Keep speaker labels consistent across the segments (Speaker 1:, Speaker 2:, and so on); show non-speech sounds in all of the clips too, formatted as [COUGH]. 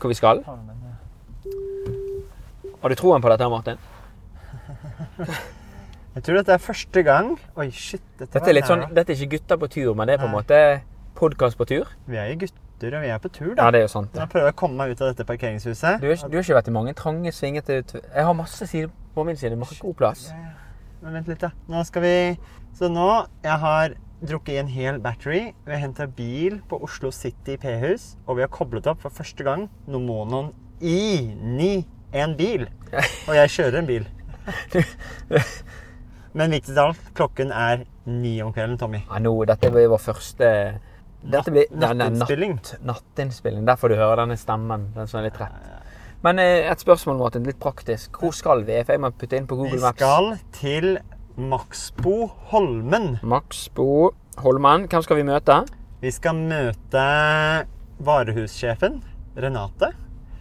Speaker 1: hvor vi skal?
Speaker 2: eh.
Speaker 1: Har du troen på dette, her, Martin?
Speaker 2: Jeg tror dette er første gang Oi, shit. Dette,
Speaker 1: Dette
Speaker 2: var
Speaker 1: er litt sånn,
Speaker 2: nære.
Speaker 1: dette er ikke gutter på tur, men det er på en
Speaker 2: Nei.
Speaker 1: måte podkast på tur.
Speaker 2: Vi er jo gutter, og vi er på tur, da.
Speaker 1: Ja, det er jo sant.
Speaker 2: Nå
Speaker 1: det.
Speaker 2: prøver jeg å komme meg ut av dette parkeringshuset.
Speaker 1: Du har, ikke- du har ikke vært i mange trange, svingete ut... Jeg har masse sider på min side. Masse god plass.
Speaker 2: Ja, ja. Men vent litt, da. Nå skal vi Så nå Jeg har drukket i en hel battery. Vi har henta bil på Oslo City P-hus, og vi har koblet opp for første gang Nomonon i9 en bil. Og jeg kjører
Speaker 1: [LAUGHS]
Speaker 2: en bil. Men viktigst av alt, klokken er ni om kvelden, Tommy.
Speaker 1: Ja, nå, dette blir vår første dette blir, nei, nei,
Speaker 2: Nattinnspilling.
Speaker 1: Natt, nattinnspilling. Derfor du hører denne stemmen. Den som er litt rett. Men eh, et spørsmål, Martin, litt praktisk. Hvor skal vi? For jeg må putte inn på
Speaker 2: Vi
Speaker 1: Google Maps.
Speaker 2: skal til Maxbo Holmen.
Speaker 1: Max Bo Holmen. Hvem skal vi møte?
Speaker 2: Vi skal møte varehussjefen, Renate.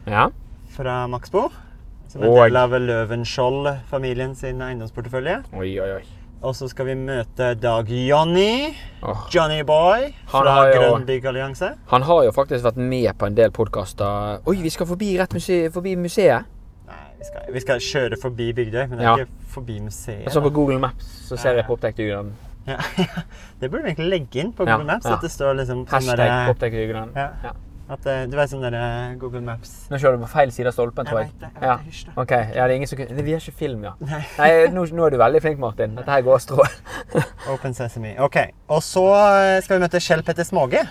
Speaker 1: Ja.
Speaker 2: fra Maxbo. Som er
Speaker 1: Og-
Speaker 2: del av Løvenskiold-familien sin eiendomsportefølje.
Speaker 1: Oi, oi, oi.
Speaker 2: Og så skal vi møte Dag Johnny.
Speaker 1: Åh.
Speaker 2: Johnny Boy
Speaker 1: Han
Speaker 2: fra
Speaker 1: har jo-
Speaker 2: Grønn byggallianse.
Speaker 1: Han har jo faktisk vært med på en del podkaster. Oi, vi skal forbi, rett muse forbi museet.
Speaker 2: Nei, vi skal, vi skal kjøre forbi Bygdøy, men det er
Speaker 1: Ja. Altså-
Speaker 2: ikke forbi museet.
Speaker 1: Og så
Speaker 2: da.
Speaker 1: på Google Maps så ser jeg Poptech-dugnad.
Speaker 2: Ja, [LAUGHS] det burde vi egentlig legge inn på
Speaker 1: Ja,
Speaker 2: Google Maps.
Speaker 1: ja.
Speaker 2: At det står liksom sånn
Speaker 1: Hashtag
Speaker 2: derre-
Speaker 1: Poptech-dugnad.
Speaker 2: ja,
Speaker 1: Ja.
Speaker 2: at det- Du vet sånn derre Google Maps
Speaker 1: Nå kjører du på feil side av stolpen, tror jeg.
Speaker 2: Jeg vet det, jeg vet
Speaker 1: Ja.
Speaker 2: det, hysj da.
Speaker 1: Ok, ja, det er ingen som kunne... Vi har ikke film, ja.
Speaker 2: [LAUGHS] Nei.
Speaker 1: Nei, nå, nå er du veldig flink, Martin. Dette her går strå. [LAUGHS]
Speaker 2: Open Sesame. OK. Og så eh, skal vi møte Kjell Petter Småge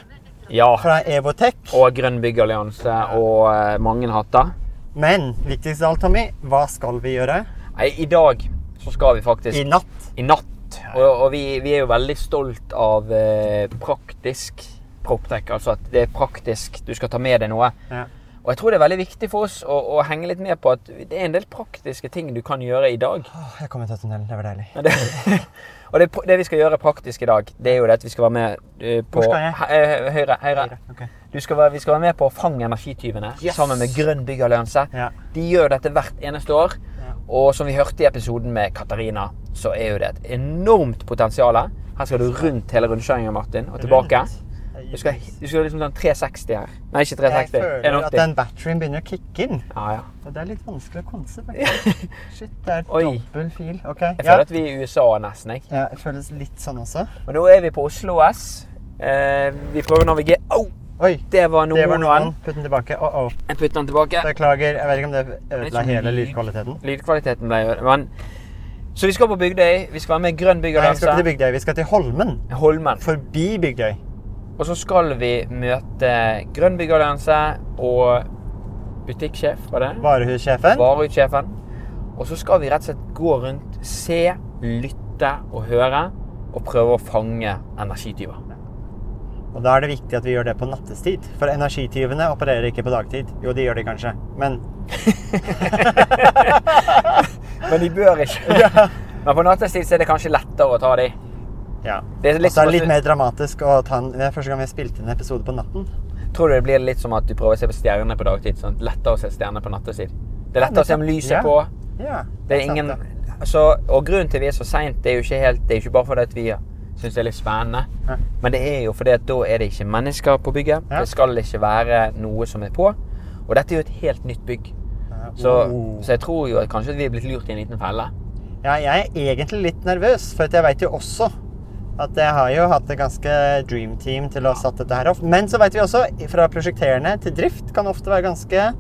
Speaker 1: Ja.
Speaker 2: fra Evotech.
Speaker 1: Og Grønn byggallianse og eh, mange hatter.
Speaker 2: Men viktigst av alt, Tommy, hva skal vi gjøre
Speaker 1: Nei, i dag så skal vi faktisk
Speaker 2: i natt?
Speaker 1: i natt. Og, og vi, vi er jo veldig stolt av eh, praktisk proptech, altså at det er praktisk du skal ta med deg noe.
Speaker 2: Ja.
Speaker 1: Og jeg tror det er veldig viktig for oss å, å henge litt med på at det er en del praktiske ting du kan gjøre i dag.
Speaker 2: Åh, Jeg kom ut av tunnelen. Det var deilig.
Speaker 1: Men Det, [LAUGHS] og det, det vi skal gjøre praktisk i dag, det er jo det at vi skal være med eh, på
Speaker 2: Hvor skal jeg?
Speaker 1: He- eh, Høyre. høyre.
Speaker 2: Ok.
Speaker 1: Du skal være, vi skal være med på å fange energityvene
Speaker 2: Yes!
Speaker 1: sammen med Grønn byggallianse.
Speaker 2: Ja.
Speaker 1: De gjør dette hvert eneste år.
Speaker 2: Ja.
Speaker 1: Og som vi hørte i episoden med Katarina, så er jo det et enormt potensial. Her skal du rundt hele rundkjøringen, Martin, og tilbake. Du skal, du skal liksom ta en 360 her. Nei, ikke
Speaker 2: Jeg
Speaker 1: 360.
Speaker 2: Eh, føler at
Speaker 1: 180.
Speaker 2: den batterien begynner å kicke inn.
Speaker 1: Ja, ja.
Speaker 2: Og det er litt vanskelig å konse,
Speaker 1: [LAUGHS]
Speaker 2: faktisk. Shit, det er
Speaker 1: Oi.
Speaker 2: dobbel fil. Ok,
Speaker 1: Jeg
Speaker 2: ja.
Speaker 1: føler at vi er i USA nesten, jeg.
Speaker 2: Ja, det føles litt sånn også.
Speaker 1: Og nå er vi på Oslo S. Eh, vi prøver å navigere Au!
Speaker 2: Oi,
Speaker 1: Det var
Speaker 2: det var
Speaker 1: noen.
Speaker 2: noen. Putt den tilbake. Åh, åh.
Speaker 1: Jeg putter den tilbake.
Speaker 2: Beklager, jeg vet ikke om det ødela
Speaker 1: sånn
Speaker 2: hele
Speaker 1: lyd.
Speaker 2: lydkvaliteten.
Speaker 1: Lydkvaliteten ble jo Men Så vi skal på Bygdøy. Vi skal være med i Grønn
Speaker 2: Nei, vi skal ikke til
Speaker 1: byggallianse.
Speaker 2: Bygdøy, vi skal til Holmen.
Speaker 1: Holmen.
Speaker 2: Forbi Bygdøy.
Speaker 1: Og så skal vi møte Grønn byggallianse og butikksjef, var det?
Speaker 2: Varehussjefen.
Speaker 1: Varehussjefen. Og så skal vi rett og slett gå rundt, se, lytte og høre. Og prøve å fange energityver.
Speaker 2: Og da er det viktig at vi gjør det på nattestid. For energityvene opererer ikke på dagtid. Jo, de gjør det kanskje, men
Speaker 1: Men de bør ikke. Men på nattestid så er det kanskje lettere å ta de.
Speaker 2: Ja.
Speaker 1: Det er litt
Speaker 2: Og så er det
Speaker 1: som at
Speaker 2: litt
Speaker 1: du-
Speaker 2: mer dramatisk å ta en Det er første gang vi har spilt inn en episode på natten.
Speaker 1: Tror du det blir litt som at du prøver å se på stjerner på dagtid? Sånn? Lettere å se stjerner på nattestid. Det er lettere å se om lyset
Speaker 2: Ja.
Speaker 1: er på.
Speaker 2: Ja.
Speaker 1: Det er ingen så, Og grunnen til at vi er så seint, det er jo ikke helt Det er jo ikke bare fordi at vi syns det er litt spennende.
Speaker 2: Ja.
Speaker 1: Men det er jo fordi at da er det ikke mennesker på bygget.
Speaker 2: Ja.
Speaker 1: Det skal ikke være noe som er på. Og dette er jo et helt nytt bygg. Så,
Speaker 2: Oh.
Speaker 1: så jeg tror jo at kanskje at vi er blitt lurt i en liten felle.
Speaker 2: Ja, jeg er egentlig litt nervøs, for at jeg veit jo også at jeg har jo hatt et ganske dream team til å ha satt dette her opp. Men så veit vi også, fra prosjekterende til drift kan ofte være ganske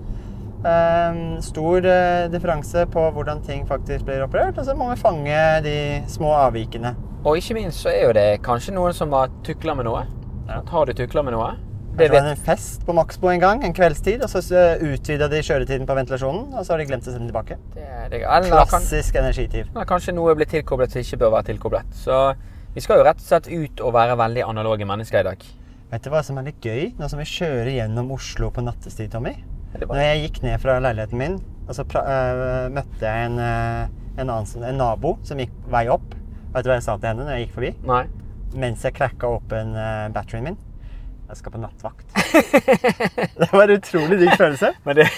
Speaker 2: ehm, stor eh, differanse på hvordan ting faktisk blir operert. Og så må vi fange de små avvikene.
Speaker 1: Og ikke minst så er jo det kanskje noen som har tukla med noe.
Speaker 2: Ja.
Speaker 1: Har du tukla med noe?
Speaker 2: Det
Speaker 1: Det
Speaker 2: var
Speaker 1: vet
Speaker 2: det en fest på Maxbo en gang, en kveldstid, og så eh, utvida de kjøretiden på ventilasjonen, og så har de glemt å sende den tilbake.
Speaker 1: det- det- eller, kan,
Speaker 2: Klassisk energitiv.
Speaker 1: eller kanskje noe blir tilkoblet som ikke bør være tilkoblet. Så vi skal jo rett og slett ut og være veldig analoge mennesker i dag.
Speaker 2: Vet du hva som er litt gøy? Nå som vi kjører gjennom Oslo på nattestid, Tommy.
Speaker 1: Det er
Speaker 2: Når
Speaker 1: bare-
Speaker 2: jeg gikk ned fra leiligheten min, og så pra øh, møtte jeg en, øh, en, annen, som- en nabo som gikk vei opp. Vet du hva jeg sa til henne når jeg gikk forbi?
Speaker 1: Nei.
Speaker 2: Mens jeg krakka åpen øh, batterien min. Jeg skal på nattvakt. Det var en utrolig digg følelse.
Speaker 1: Men det,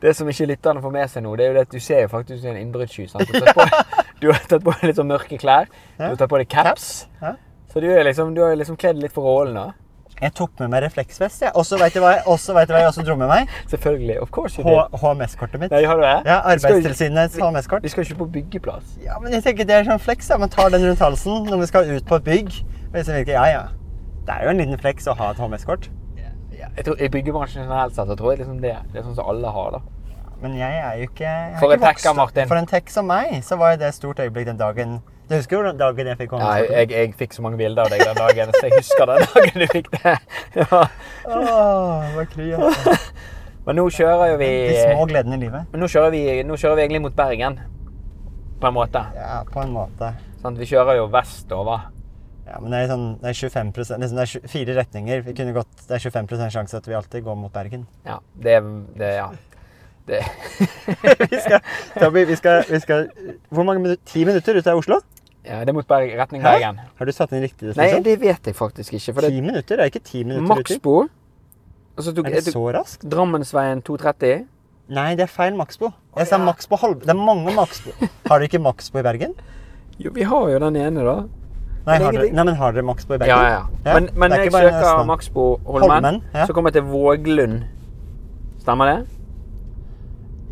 Speaker 1: det som ikke lytterne får med seg nå, det er jo det at du ser jo faktisk ut som en innbruddssky. sant? Du har tatt [LAUGHS] på- Du har tatt på deg litt sånn mørke klær. Du har tatt på deg caps.
Speaker 2: Ja.
Speaker 1: Så du, er liksom, du har liksom kledd litt for rollen. da.
Speaker 2: Jeg tok med meg refleksvest, jeg. Og så vet du hva jeg også, vet du hva jeg også dro med meg?
Speaker 1: Selvfølgelig. Of course you
Speaker 2: H-
Speaker 1: did.
Speaker 2: HMS-kortet mitt.
Speaker 1: Nei, har du det?
Speaker 2: Ja,
Speaker 1: Vi skal
Speaker 2: Arbeidstilsynets
Speaker 1: jo- vi-
Speaker 2: HMS-kort.
Speaker 1: Vi skal jo ikke på byggeplass.
Speaker 2: Ja, men jeg tenker det er sånn flex. da. Man tar den rundt halsen når vi skal ut på et bygg. Og jeg tenker, ja, ja. Det er jo en liten flex å ha et HMS-kort.
Speaker 1: Ja, jeg tror, I byggebransjen generelt sett så tror jeg liksom det, det er sånn som alle har. da.
Speaker 2: Men jeg er jo ikke jeg har
Speaker 1: For
Speaker 2: ikke
Speaker 1: en tekker,
Speaker 2: vokst opp-
Speaker 1: Martin.
Speaker 2: For en tekk som meg, så var jo det et stort øyeblikk den dagen. Du husker jo den dagen jeg fikk
Speaker 1: Ja, jeg,
Speaker 2: HMS-kortet?
Speaker 1: jeg, jeg fikk så mange bilder av deg den dagen, så jeg husker den dagen du fikk det. [LAUGHS] Ja.
Speaker 2: Åh, det var kry,
Speaker 1: [LAUGHS]
Speaker 2: altså.
Speaker 1: Men nå kjører jo vi
Speaker 2: De små gledene i livet.
Speaker 1: Men nå kjører vi, nå kjører vi egentlig mot Bergen, på en måte.
Speaker 2: Ja, på en måte.
Speaker 1: Sant? vi kjører jo vestover.
Speaker 2: Ja, men det er, sånn, det er 25 liksom det er tju- fire retninger. Vi kunne gått, det er 25 sjanse at vi alltid går mot Bergen. [LAUGHS]
Speaker 1: Ja, det, det Ja. Det.
Speaker 2: vi skal, Tommy, vi skal, vi skal Hvor mange minutter? Ti minutter ut av Oslo?
Speaker 1: ja, det er mot Berg, retning
Speaker 2: Hæ?
Speaker 1: Bergen.
Speaker 2: Har du satt inn riktig
Speaker 1: Nei,
Speaker 2: distansjon?
Speaker 1: det vet jeg faktisk ikke. For det
Speaker 2: Ti minutter? Det er ikke ti
Speaker 1: er
Speaker 2: minutter uti.
Speaker 1: maksbo. Og så tok
Speaker 2: Er
Speaker 1: jeg
Speaker 2: det
Speaker 1: tok
Speaker 2: så raskt?
Speaker 1: Drammensveien 230.
Speaker 2: Nei, det er feil maksbo. Jeg sa
Speaker 1: ja.
Speaker 2: maksbo halv... Det er mange maksbo. Har dere ikke maksbo i Bergen?
Speaker 1: Jo, vi har jo den ene, da.
Speaker 2: Nei,
Speaker 1: Men
Speaker 2: har dere,
Speaker 1: egentlig-
Speaker 2: nei men har dere maksbo i Bergen?
Speaker 1: Ja, ja. ja. Men, men
Speaker 2: det er
Speaker 1: jeg
Speaker 2: ikke bare
Speaker 1: søker
Speaker 2: Østland.
Speaker 1: Maxbo Holmen.
Speaker 2: Holmen, ja.
Speaker 1: Så kommer jeg til Våglund. Stemmer det?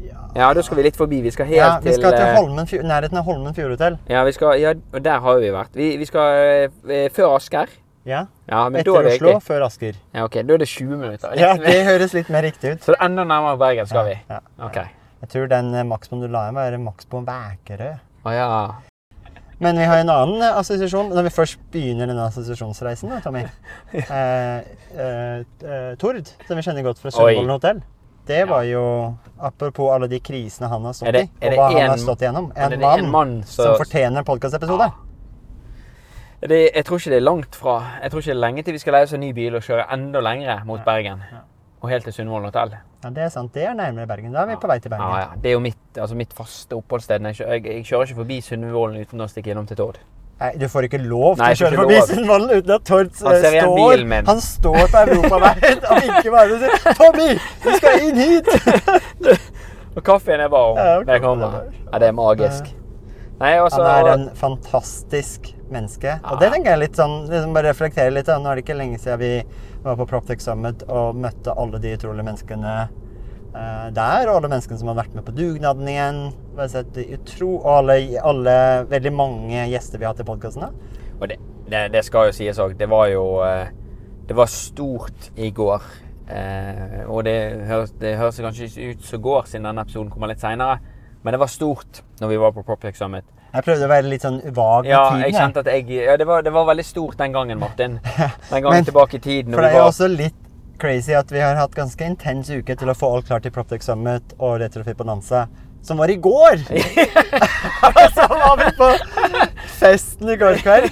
Speaker 2: Ja.
Speaker 1: Ja, da skal vi litt forbi. Vi skal helt
Speaker 2: Ja, vi skal til
Speaker 1: eh,
Speaker 2: Holmen, Fjord- nærheten av Holmen Fjordhotell.
Speaker 1: Ja, vi skal, ja, og der har vi vært. Vi, vi skal eh, eh, før Asker.
Speaker 2: Ja.
Speaker 1: Ja, men da
Speaker 2: Etter
Speaker 1: er det
Speaker 2: Oslo,
Speaker 1: ikke-
Speaker 2: før
Speaker 1: [LAUGHS]
Speaker 2: Asker.
Speaker 1: Ja, ok, da er det 20 minutter. [LAUGHS]
Speaker 2: Ja, det høres litt mer riktig ut.
Speaker 1: Så det er enda nærmere Bergen skal vi.
Speaker 2: Ja.
Speaker 1: Ok.
Speaker 2: Jeg tror den eh, maksboen du la igjen, var maksboen Vækerø.
Speaker 1: Å ja.
Speaker 2: Men vi har en annen eh, assosiasjon når vi først begynner denne assosiasjonsreisen. da,
Speaker 1: [LAUGHS]
Speaker 2: Tommy. Eh, eh, eh, Tord, som vi kjenner godt fra Sundvolden hotell. Det var jo Apropos alle de krisene han har
Speaker 1: Er
Speaker 2: stått
Speaker 1: det-
Speaker 2: i,
Speaker 1: er
Speaker 2: og
Speaker 1: det
Speaker 2: hva han
Speaker 1: en-
Speaker 2: har stått igjennom.
Speaker 1: er
Speaker 2: En
Speaker 1: det
Speaker 2: mann,
Speaker 1: en mann
Speaker 2: som
Speaker 1: som-
Speaker 2: fortjener en podkastepisode.
Speaker 1: Det, jeg tror ikke det er langt fra. Jeg tror ikke det er lenge til vi skal leie oss en ny bil og kjøre enda lengre mot Bergen. Og helt til Sundvolden hotell.
Speaker 2: Ja, det er sant. Det er nærmere Bergen. Da er vi på vei til
Speaker 1: Ja,
Speaker 2: Bergen.
Speaker 1: ja. Det er jo mitt, altså mitt faste oppholdssted. Jeg, kjø- jeg, jeg kjører ikke forbi Sundvolden uten å stikke innom til Tord.
Speaker 2: Nei, du får ikke lov til
Speaker 1: Nei,
Speaker 2: å
Speaker 1: jeg får
Speaker 2: kjøre
Speaker 1: ikke
Speaker 2: forbi
Speaker 1: lov.
Speaker 2: Sundvolden uten at Tord eh,
Speaker 1: Han ser igjen
Speaker 2: står
Speaker 1: bilen min.
Speaker 2: Han står på europaveien og vinker bare og sier 'Tommy, du skal inn hit!'
Speaker 1: Og kaffen er varm når
Speaker 2: Ja,
Speaker 1: jeg
Speaker 2: kaffen er
Speaker 1: kommer.
Speaker 2: varm.
Speaker 1: Ja, det er magisk. Nei, [LAUGHS] altså,
Speaker 2: Han er en fantastisk menneske. Og det tenker jeg litt sånn, liksom bare reflektere litt. da. Nå er det ikke lenge siden vi var på Proptech Summit og møtte alle de utrolige menneskene eh, der. Og alle menneskene som har vært med på dugnaden igjen. Bare sett de utro, og alle, alle veldig mange gjester vi har hatt i podkasten.
Speaker 1: Og det, det, det skal jo sies òg. Det var jo eh, Det var stort i går. Eh, og det høres, det høres kanskje ikke ut som går, siden denne episoden kommer litt seinere. Men det var stort når vi var på Proptech Summit.
Speaker 2: Jeg prøvde å være litt sånn vag med
Speaker 1: Ja,
Speaker 2: tiden.
Speaker 1: jeg
Speaker 2: jeg.
Speaker 1: kjente at jeg, ja, det, var, det var veldig stort den gangen,
Speaker 2: [LAUGHS]
Speaker 1: Martin. Den gangen
Speaker 2: Men-
Speaker 1: tilbake i tid. Når
Speaker 2: For det
Speaker 1: vi
Speaker 2: er jo
Speaker 1: var,
Speaker 2: også litt crazy at vi har hatt ganske intens uke til å få alt klart til Proptech Summit og Retrofit Bonanza, som var i
Speaker 1: [LAUGHS]
Speaker 2: går! [LAUGHS] så var vi på festen i går kveld.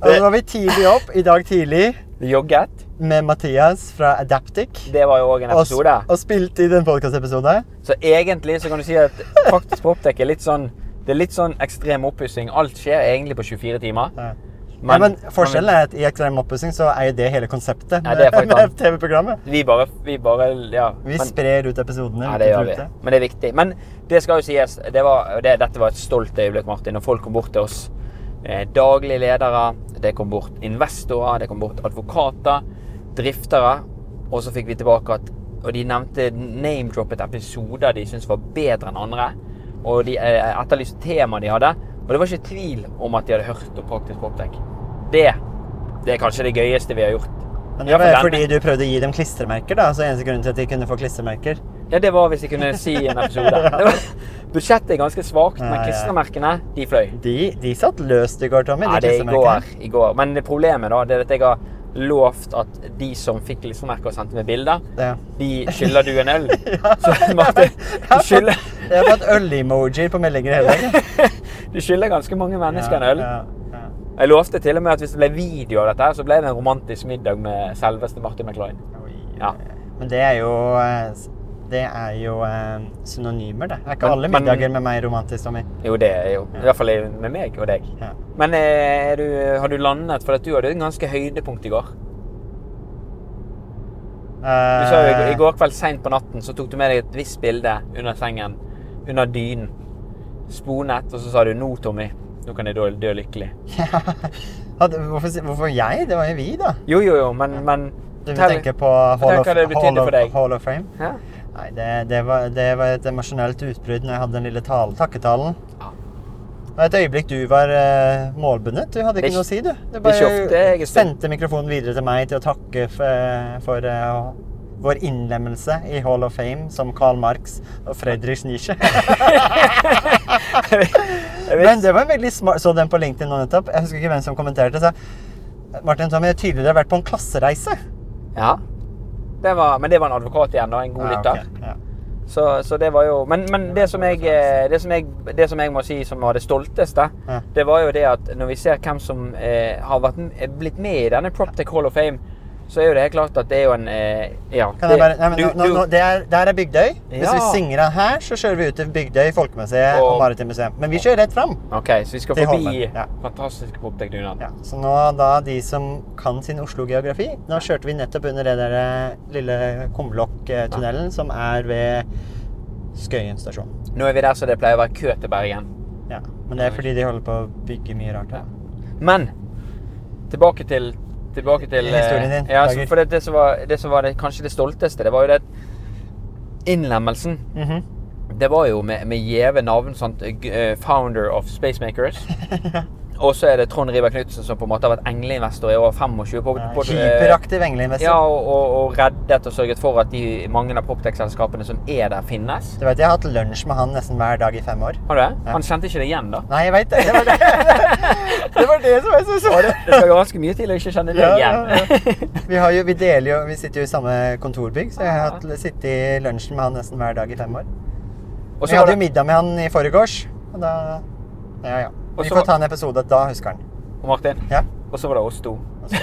Speaker 2: Og så var vi tidlig opp i dag tidlig
Speaker 1: vi jogget.
Speaker 2: med Mathias fra Adaptic.
Speaker 1: Det var jo òg en
Speaker 2: Og, s-
Speaker 1: episode.
Speaker 2: og spilte i den podkastepisoden.
Speaker 1: Så egentlig så kan du si at faktisk poptech er litt sånn Det er litt sånn ekstrem oppussing. Alt skjer egentlig på 24 timer.
Speaker 2: Ja. Men, men forskjellen er at i ekstrem oppussing så er jo det hele konseptet
Speaker 1: Ja, det er
Speaker 2: med,
Speaker 1: faktisk
Speaker 2: med
Speaker 1: sant.
Speaker 2: TV-programmet.
Speaker 1: Vi bare, vi bare Ja.
Speaker 2: Vi
Speaker 1: men-
Speaker 2: sprer ut episodene.
Speaker 1: ja, det gjør
Speaker 2: ut
Speaker 1: vi.
Speaker 2: til rute.
Speaker 1: Men det er viktig. Men det skal jo sies, det var, det, dette var et stolt øyeblikk, Martin. Når folk kom bort til oss. Eh, daglige ledere, det kom bort investorer, det kom bort advokater, driftere. Og så fikk vi tilbake at Og de nevnte name-droppet episoder de syntes var bedre enn andre. Og de eh, etterlyste temaer de hadde. Og det var ikke tvil om at de hadde hørt om Praktisk Poptech. Det, det er kanskje det gøyeste vi har gjort.
Speaker 2: Men
Speaker 1: I
Speaker 2: det
Speaker 1: hvert fall
Speaker 2: var
Speaker 1: denne.
Speaker 2: fordi du prøvde å gi dem klistremerker, da. Så eneste grunnen til at de kunne få klistremerker.
Speaker 1: Ja, det var hvis jeg kunne si i en
Speaker 2: [LAUGHS]
Speaker 1: episode. Det var, budsjettet er ganske svakt,
Speaker 2: Ja,
Speaker 1: men
Speaker 2: ja.
Speaker 1: klistremerkene, de fløy.
Speaker 2: De, de satt løst i går, Tommy.
Speaker 1: Ja,
Speaker 2: de
Speaker 1: det er i
Speaker 2: klistremerkene.
Speaker 1: går, i går. Men det problemet da, det er at jeg har lovt at de som fikk klistremerker og sendte meg bilder, [LAUGHS]
Speaker 2: Ja. [LAUGHS]
Speaker 1: de skylder du en øl.
Speaker 2: Ja.
Speaker 1: Så
Speaker 2: [LAUGHS]
Speaker 1: Martin, du skylder, [LAUGHS]
Speaker 2: Jeg har fått øl-emojier på meldinger hele dagen.
Speaker 1: du skylder ganske mange mennesker en
Speaker 2: Ja,
Speaker 1: øl.
Speaker 2: ja, ja.
Speaker 1: Jeg lovte til og med at hvis det ble video av dette, her, så ble det en romantisk middag med selveste Martin McLean. Ja.
Speaker 2: Men det er jo eh, s- Det er jo eh, synonymer, det. Det er ikke
Speaker 1: Men-
Speaker 2: alle
Speaker 1: men-
Speaker 2: middager med meg romantisk, Tommy.
Speaker 1: Jo, det er jo. I hvert fall med meg og deg.
Speaker 2: Ja.
Speaker 1: Men eh, er du, har du landet? For at du hadde en ganske høydepunkt i går. Du sa jo
Speaker 2: Eh.
Speaker 1: i- i går kveld seint på natten så tok du med deg et visst bilde under sengen, under
Speaker 2: [LAUGHS]
Speaker 1: dynen. Sponet, og så sa du 'nå, Tommy, nå kan jeg dø, dø lykkelig'.
Speaker 2: Eh, Hadde, hvorfor, si- hvorfor jeg? Det var jo vi, da.
Speaker 1: Jo, jo, jo, men, men
Speaker 2: Du
Speaker 1: Tell-
Speaker 2: tenker på Hall
Speaker 1: tenk
Speaker 2: of,
Speaker 1: hva det betydde
Speaker 2: Hall
Speaker 1: for
Speaker 2: of,
Speaker 1: deg.
Speaker 2: Hall of Frame?
Speaker 1: ja.
Speaker 2: Nei, det, det, var, det var et emosjonelt utbrudd når jeg hadde den lille tale, takketalen.
Speaker 1: Ja.
Speaker 2: Det var et øyeblikk du var eh, målbundet. Du hadde
Speaker 1: Det er
Speaker 2: ikke
Speaker 1: ikke-
Speaker 2: noe å si, du. Du
Speaker 1: er ikke ofte jeg er stor.
Speaker 2: sendte mikrofonen videre til meg til å takke for, for eh, vår innlemmelse i Hall of Fame som Karl Marx og
Speaker 1: [LAUGHS]
Speaker 2: Friedrich Nietzsche.
Speaker 1: [LAUGHS] Jeg vet-
Speaker 2: Men det var en veldig smart Så den på LinkedIn nå nettopp. Jeg husker ikke hvem som kommenterte. Sa Martin Tommy, det er tydelig du har vært på en klassereise.
Speaker 1: Ja. Det var, men det var en advokat igjen, da. En god
Speaker 2: Ja,
Speaker 1: lytter.
Speaker 2: Ah, ok. Ja.
Speaker 1: Så, så det var jo Men, men det, som jeg, eh, det, som jeg, det som jeg må si som var det stolteste,
Speaker 2: Ja.
Speaker 1: det var jo det at når vi ser hvem som eh, har vært, m- eh, blitt med i denne PropTech Hall of Fame, så er jo det helt klart at det er jo en eh, Ja.
Speaker 2: Kan
Speaker 1: det-
Speaker 2: jeg bare, nei, men,
Speaker 1: du-
Speaker 2: nå, nå, nå,
Speaker 1: du-
Speaker 2: det er, der er Bygdøy. Hvis
Speaker 1: Ja.
Speaker 2: vi svinger av her, så kjører vi ut til Bygdøy, Folkemuseet og,
Speaker 1: Og-
Speaker 2: Maritimt museum. Men vi kjører rett fram.
Speaker 1: OK, så vi skal
Speaker 2: Til
Speaker 1: forbi
Speaker 2: Holmen, ja.
Speaker 1: fantastiske PropTech-dugnad.
Speaker 2: Ja, så nå da de som kan sin Oslo-geografi Nå kjørte vi nettopp under det der eh, lille Kumlokk-tunnelen som er ved Skøyen stasjon.
Speaker 1: Nå er vi der så det pleier å være kø til Bergen.
Speaker 2: Ja, men det er fordi de holder på å bygge mye rart her.
Speaker 1: Men tilbake til tilbake til eh,
Speaker 2: Historien din,
Speaker 1: Ja,
Speaker 2: Dager.
Speaker 1: så, for det, det som var, det som var det, kanskje det stolteste, det var jo det Innlemmelsen.
Speaker 2: Mhm.
Speaker 1: Det var jo med, med gjeve navn. Sant? G- eh, Founder of
Speaker 2: [LAUGHS]
Speaker 1: Spacemakers. Og så er det Trond Riiber Knutsen, som på en måte har vært engleinvestor i over 25 på,
Speaker 2: Eh,
Speaker 1: på, eh,
Speaker 2: Hyperaktiv engleinvestor.
Speaker 1: ja, og, og, og reddet og sørget for at de mange av Proptech-selskapene som er der, finnes.
Speaker 2: Du vet, jeg har hatt lunsj med han nesten hver dag i fem år.
Speaker 1: Har du det?
Speaker 2: Ja.
Speaker 1: Han kjente ikke det igjen,
Speaker 2: [LAUGHS]
Speaker 1: da.
Speaker 2: Nei, jeg veit det. Det var
Speaker 1: [LAUGHS]
Speaker 2: det, det, var det som er så
Speaker 1: Og det,
Speaker 2: sårt.
Speaker 1: det skal ganske mye til å ikke kjenne det
Speaker 2: Ja,
Speaker 1: igjen.
Speaker 2: ja, Vi, har jo, vi deler jo Vi sitter jo i samme kontorbygg, så jeg
Speaker 1: Ah.
Speaker 2: har hatt, sittet i lunsjen med han nesten hver dag i fem år.
Speaker 1: [LAUGHS] Og så
Speaker 2: Vi
Speaker 1: var
Speaker 2: hadde
Speaker 1: det-
Speaker 2: jo middag med han i forgårs, og da Ja, ja.
Speaker 1: Og
Speaker 2: Vi
Speaker 1: så var-
Speaker 2: får ta en episode, da husker han.
Speaker 1: Og Martin?
Speaker 2: Ja.
Speaker 1: Og så var det oss to. [LAUGHS]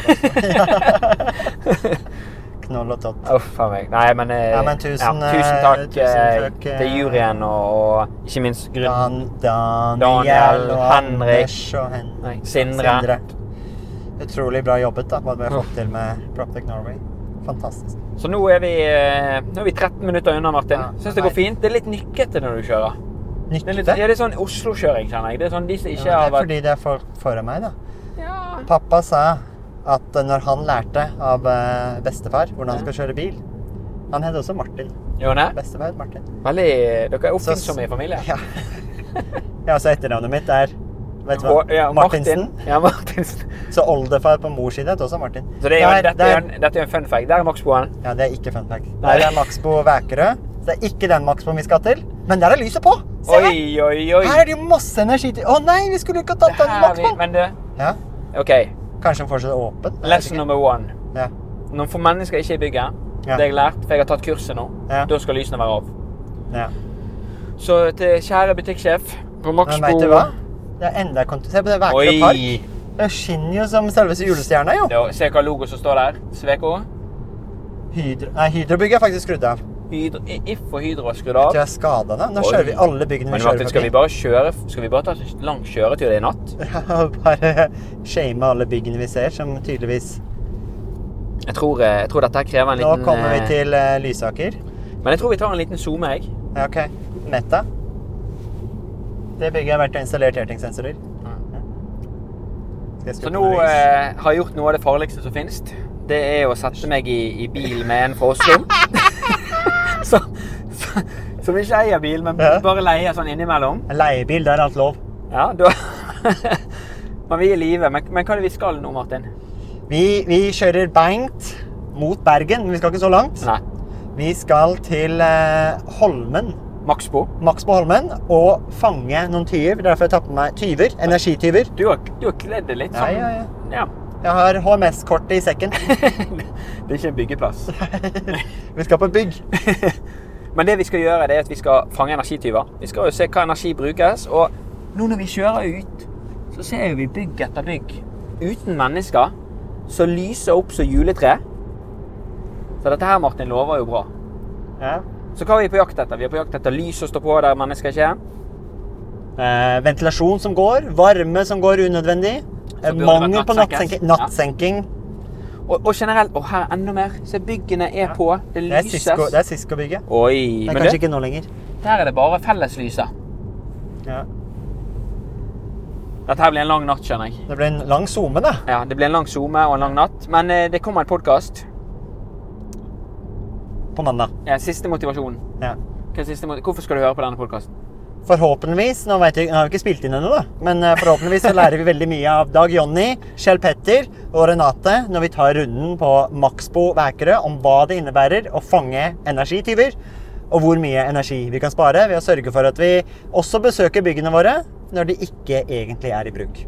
Speaker 2: Knoll og tott.
Speaker 1: Uff a meg. Nei, men, eh,
Speaker 2: Ja, men tusen,
Speaker 1: ja, tusen
Speaker 2: eh,
Speaker 1: takk,
Speaker 2: tusen
Speaker 1: eh,
Speaker 2: takk, eh,
Speaker 1: til juryen og, og ikke minst Grunn.
Speaker 2: Dan, Daniel,
Speaker 1: Daniel,
Speaker 2: og
Speaker 1: Henrik.
Speaker 2: Anders og Hen
Speaker 1: Nei, Sindre.
Speaker 2: Utrolig bra jobbet, da, hva vi har fått til med Proptech Norway. Fantastisk.
Speaker 1: Så nå er, vi, eh, nå er vi 13 minutter unna, Martin.
Speaker 2: Ja,
Speaker 1: Syns det
Speaker 2: nei.
Speaker 1: går fint. Det er litt nykkete når du kjører. Det er, litt,
Speaker 2: Nytte.
Speaker 1: ja, det er sånn Oslo-kjøring, kjenner jeg. Det er sånn de som ikke
Speaker 2: Ja,
Speaker 1: har
Speaker 2: det er
Speaker 1: vært
Speaker 2: fordi det er folk foran meg, da.
Speaker 1: ja.
Speaker 2: Pappa sa at når han lærte av eh, bestefar hvordan han skal kjøre bil Han het også Martin.
Speaker 1: Jone,
Speaker 2: Bestefar het Martin.
Speaker 1: veldig, dere er
Speaker 2: Så-
Speaker 1: oppfinnsomme i familien.
Speaker 2: Ja. ja, så etternavnet mitt er Vet du hva?
Speaker 1: Og- ja,
Speaker 2: Martinsen.
Speaker 1: Martin. Ja, Martinsen.
Speaker 2: Så oldefar på mors side het også Martin.
Speaker 1: Så det er jo,
Speaker 2: Der-
Speaker 1: dette, er,
Speaker 2: der-
Speaker 1: en- dette er en fun fact. Der er Maxboen.
Speaker 2: Ja, det er ikke fun fact.
Speaker 1: Nei.
Speaker 2: Der er Maxbo Vækerø. Så det er ikke den Maxboen vi skal til. Men der er lyset på! Se her!
Speaker 1: Oi, oi, oi.
Speaker 2: Her er det jo masse energi til Å nei, vi skulle ikke ha tatt
Speaker 1: Det
Speaker 2: den
Speaker 1: her vi,
Speaker 2: Maxboen!
Speaker 1: men du,
Speaker 2: Ja,
Speaker 1: OK.
Speaker 2: kanskje den fortsatt er åpen? Jeg vet
Speaker 1: Lesson
Speaker 2: ikke.
Speaker 1: number one.
Speaker 2: Ja.
Speaker 1: Når for mennesker ikke er i bygget,
Speaker 2: Ja.
Speaker 1: det har jeg lært, for jeg har tatt kurset nå,
Speaker 2: Ja.
Speaker 1: da skal lysene være av.
Speaker 2: Ja.
Speaker 1: Så til kjære butikksjef på Maxbo
Speaker 2: Men vet du hva? Det er enda kont- Se på det Vækerø Park.
Speaker 1: Oi!
Speaker 2: Det skinner jo som selveste julestjerna, jo.
Speaker 1: Da, se hva logo som står der. Sveko.
Speaker 2: Hydro, nei, Hydrobygget er faktisk skrudd av.
Speaker 1: Hydro, If og Hydro er skrudd
Speaker 2: Jeg tror
Speaker 1: av.
Speaker 2: jeg skada det. Nå
Speaker 1: Oi.
Speaker 2: kjører vi alle byggene vi
Speaker 1: Men
Speaker 2: kjører
Speaker 1: Martin, skal vi
Speaker 2: forbi.
Speaker 1: bare kjøre Skal vi bare ta en lang kjøretur i natt?
Speaker 2: [LAUGHS] Ja, Bare shame alle byggene vi ser, som tydeligvis
Speaker 1: Jeg tror, eh, jeg tror dette her krever en
Speaker 2: Nå
Speaker 1: liten
Speaker 2: kommer vi
Speaker 1: eh,
Speaker 2: til eh, Lysaker.
Speaker 1: Men jeg tror vi tar en liten zoome, jeg.
Speaker 2: Ja, OK. Meta. Det bygget har vært installert airting-sensorer. Skal jeg
Speaker 1: Mm. Så
Speaker 2: skru
Speaker 1: nå
Speaker 2: på lys?
Speaker 1: eh, har jeg gjort noe av det farligste som finnes. Det er å sette meg i, i bil med en fra
Speaker 2: [LAUGHS]
Speaker 1: Oslo. så, så, som ikke eier bil, men
Speaker 2: Ja.
Speaker 1: bare leier sånn innimellom.
Speaker 2: En leiebil, der er alt lov.
Speaker 1: Ja, da [LAUGHS] Men vi er i live. Men, men hva er det vi skal nå, Martin?
Speaker 2: Vi, vi kjører beint mot Bergen, men vi skal ikke så langt.
Speaker 1: Nei.
Speaker 2: Vi skal til eh, Holmen.
Speaker 1: Maxbo.
Speaker 2: Max på Holmen og fange noen tyver. Derfor har jeg tatt med meg tyver. Energityver.
Speaker 1: Du har, du har kledd det litt
Speaker 2: Ja,
Speaker 1: sånn.
Speaker 2: ja, ja.
Speaker 1: ja. [LAUGHS]
Speaker 2: Jeg har HMS-kortet i sekken.
Speaker 1: det er ikke en byggeplass. [LAUGHS]
Speaker 2: Vi skal på bygg.
Speaker 1: Men det vi skal gjøre, det er at vi skal fange energityver. Vi skal jo se hva energi brukes. Og nå når vi kjører ut, så ser jo vi bygg etter bygg uten mennesker som lyser opp som juletre. Så dette her, Martin, lover jo bra.
Speaker 2: Ja.
Speaker 1: Så hva er vi på jakt etter? Vi er på jakt etter lys som står på der mennesker ikke er.
Speaker 2: Eh, ventilasjon som går. Varme som går unødvendig. Eh,
Speaker 1: Så burde det
Speaker 2: mangel
Speaker 1: vært
Speaker 2: på
Speaker 1: nattsenkes.
Speaker 2: nattsenking. nattsenking.
Speaker 1: Og, og generelt, og her enda mer, se byggene er på. Det
Speaker 2: Det er
Speaker 1: lyses.
Speaker 2: Cisco- Det er Cisco-bygget.
Speaker 1: Oi,
Speaker 2: Det er
Speaker 1: men
Speaker 2: kanskje
Speaker 1: du,
Speaker 2: ikke nå lenger.
Speaker 1: der er det bare felleslyset.
Speaker 2: Ja.
Speaker 1: Dette her blir en lang natt, skjønner jeg.
Speaker 2: Det ble en lang zoome, da.
Speaker 1: Ja, Det blir en lang zoome og en lang natt, men eh, det kommer en podkast.
Speaker 2: På mandag.
Speaker 1: Ja, siste motivasjon.
Speaker 2: Ja.
Speaker 1: Hva er siste mot Hvorfor skal du høre på denne podkasten?
Speaker 2: Forhåpentligvis nå, vet jeg, nå har vi ikke spilt inn ennå, da. Men eh, forhåpentligvis så lærer vi veldig mye av Dag Jonny, Kjell Petter og Renate når vi tar runden på Maxbo Vækerø om hva det innebærer å fange energityver, og hvor mye energi vi kan spare ved å sørge for at vi også besøker byggene våre når de ikke egentlig er i bruk.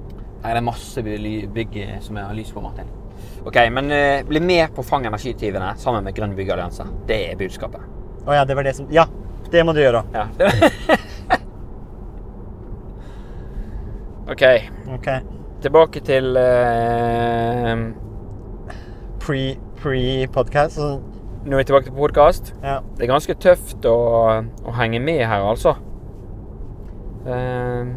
Speaker 1: Her er det masse by- ly- bygg eh, som jeg har lys på, Martin. Ok, men eh, Bli med på Fang energityvene sammen med Grønn byggallianse. Det er budskapet.
Speaker 2: Å ja, det var det som Ja, det må du gjøre.
Speaker 1: [LAUGHS] Ja. ok,
Speaker 2: Ok.
Speaker 1: tilbake til eh,
Speaker 2: Pre- Pre-podcast. sånn.
Speaker 1: Nå er vi tilbake til podkast.
Speaker 2: ja.
Speaker 1: Det er ganske tøft å, å henge med her, altså. Eh,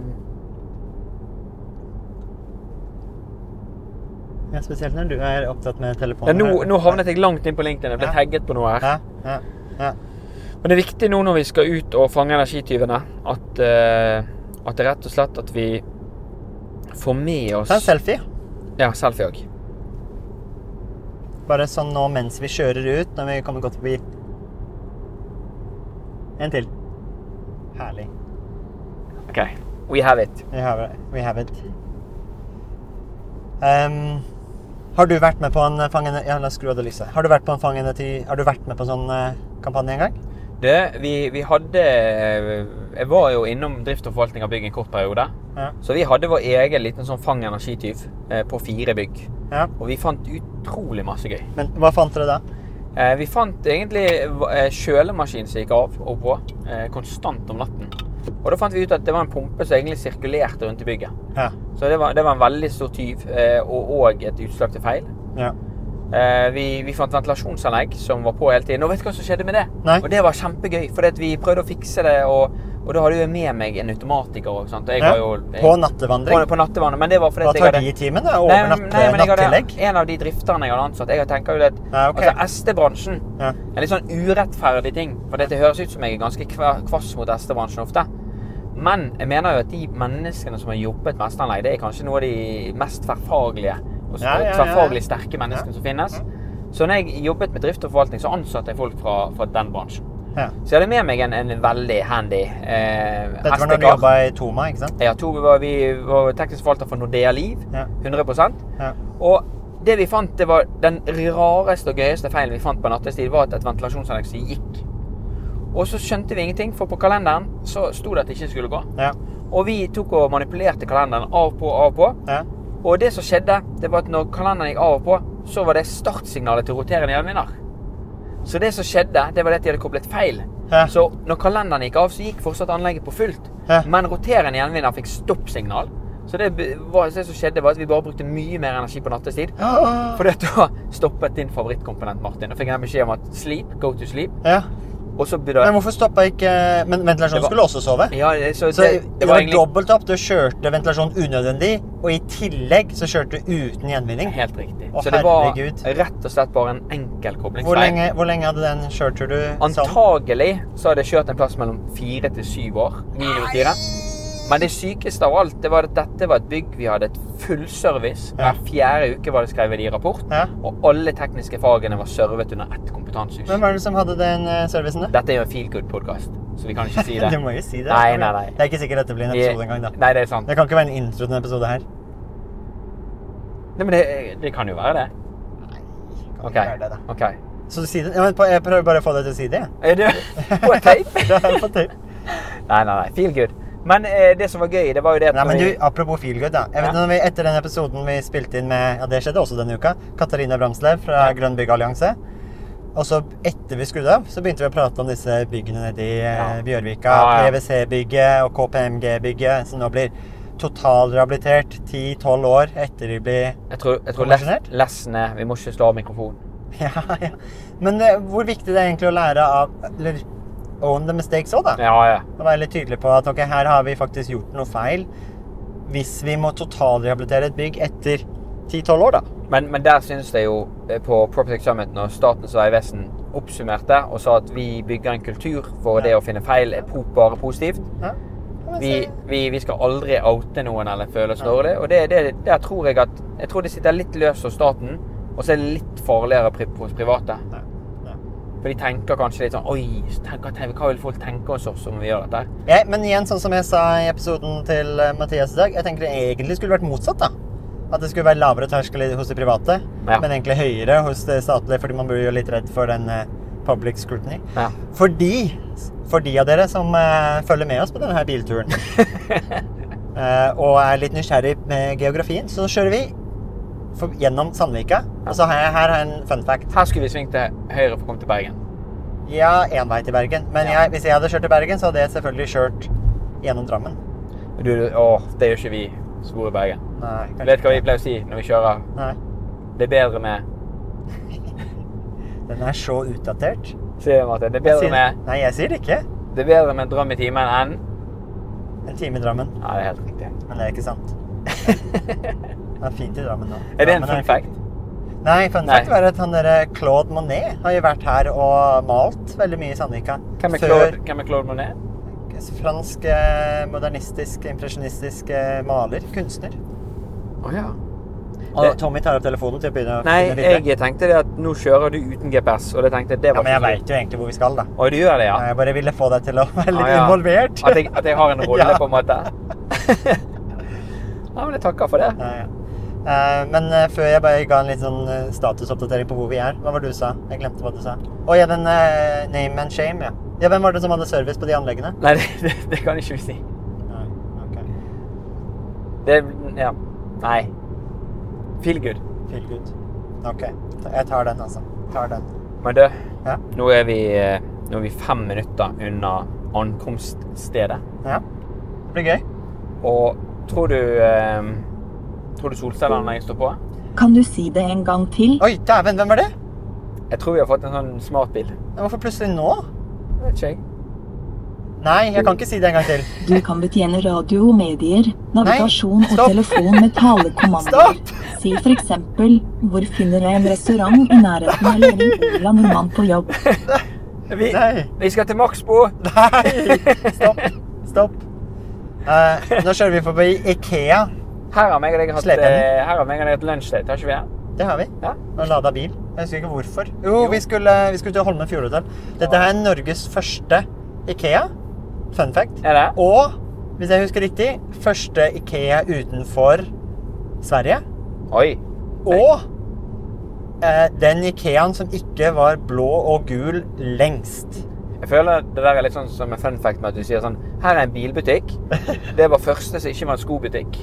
Speaker 2: ja, spesielt når du er opptatt med
Speaker 1: ja,
Speaker 2: telefonen.
Speaker 1: nå, nå havnet jeg langt inn på LinkedIn. Jeg ble
Speaker 2: Ja.
Speaker 1: tagget på noe her.
Speaker 2: Ja, ja, ja.
Speaker 1: Men det er viktig nå når vi skal ut og fange energityvene, at, eh, at det er rett og slett at vi får med oss
Speaker 2: Ta en selfie.
Speaker 1: Ja, selfie òg.
Speaker 2: Bare sånn nå mens vi kjører ut, når vi kommer godt forbi. En til. Herlig.
Speaker 1: OK. We have it.
Speaker 2: We have it. We have it. Ehm, har du vært med på en fangende... Ja, la oss skru av det lyset. Har du vært på en fangende til... Har du vært med på en sånn eh, kampanje en gang?
Speaker 1: Du, vi, vi hadde Jeg var jo innom drift og forvaltning av bygg en kort periode.
Speaker 2: Ja.
Speaker 1: Så vi hadde vår egen liten sånn fang energityv eh, på fire bygg.
Speaker 2: Ja.
Speaker 1: Og vi fant utrolig masse gøy.
Speaker 2: Men hva fant dere da?
Speaker 1: Eh, vi fant egentlig eh, kjølemaskin som gikk av og på eh, konstant om natten. Og da fant vi ut at det var en pumpe som egentlig sirkulerte rundt i bygget.
Speaker 2: Ja.
Speaker 1: Så det var, det var en veldig stor tyv, eh, og, og et utslag til feil.
Speaker 2: Ja.
Speaker 1: Eh, vi, vi fant ventilasjonsanlegg som var på hele tiden. Og vet du hva som skjedde med det?
Speaker 2: Nei.
Speaker 1: Og det var kjempegøy, for vi prøvde å fikse det, og, og da hadde jo jeg med meg en automatiker òg. Jeg
Speaker 2: Ja.
Speaker 1: var jo jeg,
Speaker 2: På nattevandring.
Speaker 1: på, på nattevannet. Men det var fordi
Speaker 2: Hva
Speaker 1: at jeg
Speaker 2: tar
Speaker 1: hadde
Speaker 2: de i timen da?
Speaker 1: Nei,
Speaker 2: Over
Speaker 1: nei,
Speaker 2: natt,
Speaker 1: men jeg hadde
Speaker 2: nattillegg?
Speaker 1: en av de drifterne jeg hadde ansatt. Jeg tenker jo det at
Speaker 2: Ja, ok.
Speaker 1: altså, SD-bransjen
Speaker 2: Ja.
Speaker 1: er litt sånn urettferdig ting. For det høres ut som jeg er ganske kva- kvass mot SD-bransjen ofte. Men jeg mener jo at de menneskene som har jobbet med SD-anlegg, det er kanskje noe av de mest tverrfaglige og s-
Speaker 2: Ja, ja, ja, ja.
Speaker 1: tverrfaglig sterke menneskene
Speaker 2: Ja.
Speaker 1: som finnes. Så når jeg jobbet med drift og forvaltning, så ansatte jeg folk fra, fra den bransjen.
Speaker 2: Ja.
Speaker 1: Så jeg hadde med meg en, en veldig handy eh,
Speaker 2: Dette var når du
Speaker 1: SD-kar.
Speaker 2: jobba i Toma, ikke sant?
Speaker 1: Ja, to var vi var teknisk forvalter for Nordea Liv.
Speaker 2: Ja.
Speaker 1: 100
Speaker 2: Ja.
Speaker 1: og det vi fant, det var den rareste og gøyeste feilen vi fant på nattestid, var at et ventilasjonsanlegg som gikk. Og så skjønte vi ingenting, for på kalenderen så sto det at det ikke skulle gå.
Speaker 2: Ja.
Speaker 1: Og vi tok og manipulerte kalenderen av på, av på.
Speaker 2: Ja.
Speaker 1: Og det som skjedde, det var at når kalenderen gikk av og på, så var det startsignalet til roterende jevnvinner. Så det som skjedde, det var det at de hadde koblet feil.
Speaker 2: Ja.
Speaker 1: Så når kalenderen gikk av, så gikk fortsatt anlegget på fullt.
Speaker 2: Ja.
Speaker 1: Men roterende jevnvinner fikk stoppsignal. Så det, be- var, det som skjedde, var at vi bare brukte mye mer energi på nattestid.
Speaker 2: Ja.
Speaker 1: Fordi at da stoppet din favorittkomponent, Martin. Da fikk jeg beskjed om at sleep, go to sleep. Og så burde
Speaker 2: Men hvorfor stoppa ikke Men
Speaker 1: Det
Speaker 2: ventilasjonen
Speaker 1: var-
Speaker 2: skulle også sove?
Speaker 1: Ja, det- så
Speaker 2: Så det,
Speaker 1: det, det var egentlig
Speaker 2: dobbelt opp. Du kjørte ventilasjon unødvendig, og i tillegg så kjørte du uten gjenvinning.
Speaker 1: Helt riktig.
Speaker 2: Å,
Speaker 1: Så det var
Speaker 2: herregud.
Speaker 1: rett og slett bare en enkel
Speaker 2: Hvor
Speaker 1: koblingsfeil.
Speaker 2: lenge, hvor lenge hadde den kjørtur du sånn?
Speaker 1: Antagelig så har det kjørt en plass mellom fire til syv år. Minimum fire. Men det sykeste av alt det var at dette var et bygg vi hadde et fullservice.
Speaker 2: Ja.
Speaker 1: Hver fjerde uke var det skrevet i rapport.
Speaker 2: Ja.
Speaker 1: Og alle tekniske fagene var servet under ett kompetansehus.
Speaker 2: Hvem var det som hadde den eh, servicen, da?
Speaker 1: Dette er jo en feel good-podkast, så vi kan ikke si det.
Speaker 2: Du må jo si [LAUGHS] det.
Speaker 1: Nei, nei, nei.
Speaker 2: Det er ikke sikkert dette blir en
Speaker 1: Vi-
Speaker 2: episode engang, da.
Speaker 1: Nei, det er sant.
Speaker 2: Det kan ikke være en intro til en episode her.
Speaker 1: Nei, men det, det kan jo være det.
Speaker 2: Kan
Speaker 1: Ok.
Speaker 2: ikke være det, da.
Speaker 1: ok.
Speaker 2: Så si det. Ja, men på- jeg prøver bare å få deg til å si det, jeg. [LAUGHS]
Speaker 1: Er det på tape?
Speaker 2: Det er på tape.
Speaker 1: Nei, nei, nei. Feel good. Men eh, det som var gøy, det var jo det at
Speaker 2: Nei, men
Speaker 1: når
Speaker 2: du,
Speaker 1: vi-
Speaker 2: Apropos feelgood. da. Jeg vet,
Speaker 1: Ja.
Speaker 2: når vi, etter den episoden vi spilte inn med ja, det skjedde også denne uka, Katarina Bramslev fra
Speaker 1: Ja.
Speaker 2: Grønn byggallianse Og så etter vi skrudde av, så begynte vi å prate om disse byggene nede i eh,
Speaker 1: Ja.
Speaker 2: Bjørvika.
Speaker 1: Ja, ja.
Speaker 2: PwC-bygget og KPMG-bygget, som nå blir totalrehabilitert 10-12 år etter de blir [LAUGHS]
Speaker 1: Jeg tror, jeg tror
Speaker 2: Konvensjonelt?
Speaker 1: les- lessen er Vi må ikke slå av mikrofonen.
Speaker 2: Ja, ja. Men eh, hvor viktig det er egentlig å lære av Eller own the mistakes òg, da.
Speaker 1: Ja, ja.
Speaker 2: Å være litt tydelig på at ok, her har vi faktisk gjort noe feil. Hvis vi må totalrehabilitere et bygg etter 10-12 år, da.
Speaker 1: Men, men der syns jeg jo eh, på Proptech Summit når Statens vegvesen oppsummerte og sa at vi bygger en kultur for det å finne feil er po- bare positivt.
Speaker 2: Ja.
Speaker 3: men
Speaker 1: Vi,
Speaker 3: så-
Speaker 1: vi, vi skal aldri oute noen eller føle oss dårlig. Og det, det, der tror jeg at Jeg tror det sitter litt løst hos staten, og så er det litt farligere pri- hos private.
Speaker 2: Nei. Nei.
Speaker 1: For de tenker kanskje litt sånn Oi, tenk, hva tenk- hva vil folk tenke hos oss om vi gjør dette? her?»
Speaker 2: Jeg, men igjen, sånn som jeg sa i episoden til eh, Mathias i dag, jeg tenker det egentlig skulle vært motsatt. da. At det skulle være lavere terskel i- hos de private,
Speaker 1: Ja.
Speaker 2: men egentlig høyere hos det statlige, fordi man blir jo litt redd for den eh, public scrutiny.
Speaker 1: Ja.
Speaker 2: Fordi, for de av dere som eh, følger med oss på denne her
Speaker 1: [LAUGHS]
Speaker 2: bilturen, eh, og er litt nysgjerrig med geografien, så kjører vi for, gjennom Sandvika. Og så har jeg her har jeg en fun fact.
Speaker 1: Her skulle vi svingt til høyre for å komme til Bergen.
Speaker 2: Ja, én vei til Bergen. Men
Speaker 1: Ja.
Speaker 2: jeg, hvis jeg hadde kjørt til Bergen, så hadde jeg selvfølgelig kjørt gjennom Drammen.
Speaker 1: Men Du, åh, det gjør ikke vi som bor i Bergen.
Speaker 2: Nei,
Speaker 1: Du
Speaker 2: kanskje
Speaker 1: vet hva vi pleier å si når vi kjører?
Speaker 2: Nei.
Speaker 1: Det er bedre med
Speaker 2: Den er så utdatert.
Speaker 1: Sier du, Martin. Det er
Speaker 2: Jeg
Speaker 1: bedre
Speaker 2: sier-
Speaker 1: med,
Speaker 2: Nei, jeg sier det ikke.
Speaker 1: det er bedre med en drøm i timen enn
Speaker 2: En time i Drammen.
Speaker 1: Ja, det er helt [LAUGHS] riktig.
Speaker 2: Men det er ikke sant. Det er fint i Drammen nå.
Speaker 1: Er det
Speaker 2: Drammen
Speaker 1: en fun fact?
Speaker 2: Nei, fun
Speaker 1: Nei.
Speaker 2: fact var at han der Claude Monet har jo vært her og malt veldig mye i Sandvika.
Speaker 1: Hvem er Claude, hvem er Claude Monet?
Speaker 2: Før fransk eh, modernistisk, impresjonistisk eh, maler, kunstner.
Speaker 1: Å ja.
Speaker 2: Og
Speaker 1: Det-
Speaker 2: Tommy tar opp telefonen til å begynne å
Speaker 1: Nei,
Speaker 2: finne videre.
Speaker 1: jeg tenkte det at nå kjører du uten GPS, og det tenkte jeg det
Speaker 2: Ja,
Speaker 1: var
Speaker 2: men jeg
Speaker 1: ikke så-
Speaker 2: veit jo egentlig hvor vi skal, da.
Speaker 1: Å, du gjør det, ja?
Speaker 2: Jeg bare ville få deg til å [LAUGHS] være litt
Speaker 1: Ah, ja.
Speaker 2: involvert.
Speaker 1: At jeg, at jeg har en rolle,
Speaker 2: Ja.
Speaker 1: på en måte? Nei, men jeg takker for det.
Speaker 2: [LAUGHS] Ja, ja. Eh, men eh, før jeg bare ga en litt sånn eh, statusoppdatering på hvor vi er Hva var det du sa? Jeg glemte hva du sa. Å ja, den eh, name and shame, ja. Ja, Hvem var det som hadde service på de anleggene?
Speaker 1: Nei, det, det, det kan ikke vi si.
Speaker 2: Nei, ok.
Speaker 1: Det Ja. Nei. Feel good.
Speaker 2: Feel good. Ok. Jeg tar den, altså. Tar den.
Speaker 1: Men du,
Speaker 2: Ja.
Speaker 1: nå er vi, eh, nå er vi fem minutter unna ankomststedet.
Speaker 2: Ja. Det blir gøy.
Speaker 1: Og tror du eh, Tror du solcelleanlegget står på?
Speaker 4: Kan du si det en gang til?
Speaker 2: Oi, dæven, hvem var det?
Speaker 1: Jeg tror vi har fått en sånn smartbil.
Speaker 2: Hvorfor plutselig nå?
Speaker 1: Jeg Vet ikke jeg.
Speaker 2: Nei, jeg kan ikke si det en gang
Speaker 1: [LAUGHS]
Speaker 2: til.
Speaker 4: Du kan betjene radio, medier, navigasjon og
Speaker 2: stopp.
Speaker 4: telefon med talekommandoer.
Speaker 2: Stopp!
Speaker 4: Si for eksempel 'Hvor finner jeg en restaurant i nærheten av Ring Ola nordmann på jobb?'
Speaker 1: Vi,
Speaker 2: Nei.
Speaker 1: vi skal til Maxbo!
Speaker 2: Nei! Stopp. Stopp. Eh, nå kjører vi forbi Ikea.
Speaker 1: Her har meg og deg hatt,
Speaker 2: Slepen.
Speaker 1: eh, her har meg og deg hatt lunsjdate, har ikke vi det?
Speaker 2: Det har vi.
Speaker 1: Ja.
Speaker 2: Og lada bil. Jeg husker ikke hvorfor. Jo,
Speaker 1: Jo.
Speaker 2: Vi, skulle, vi skulle til Holmen Fjordhotell. Dette er Norges første Ikea. Fun fact.
Speaker 1: Er det?
Speaker 2: Og, hvis jeg husker riktig, første Ikea utenfor Sverige.
Speaker 1: Oi.
Speaker 2: Og eh, den Ikeaen som ikke var blå og gul lengst.
Speaker 1: Jeg føler det der er litt sånn som en fun fact med at du sier sånn Her er en bilbutikk. Det var første som ikke var en skobutikk.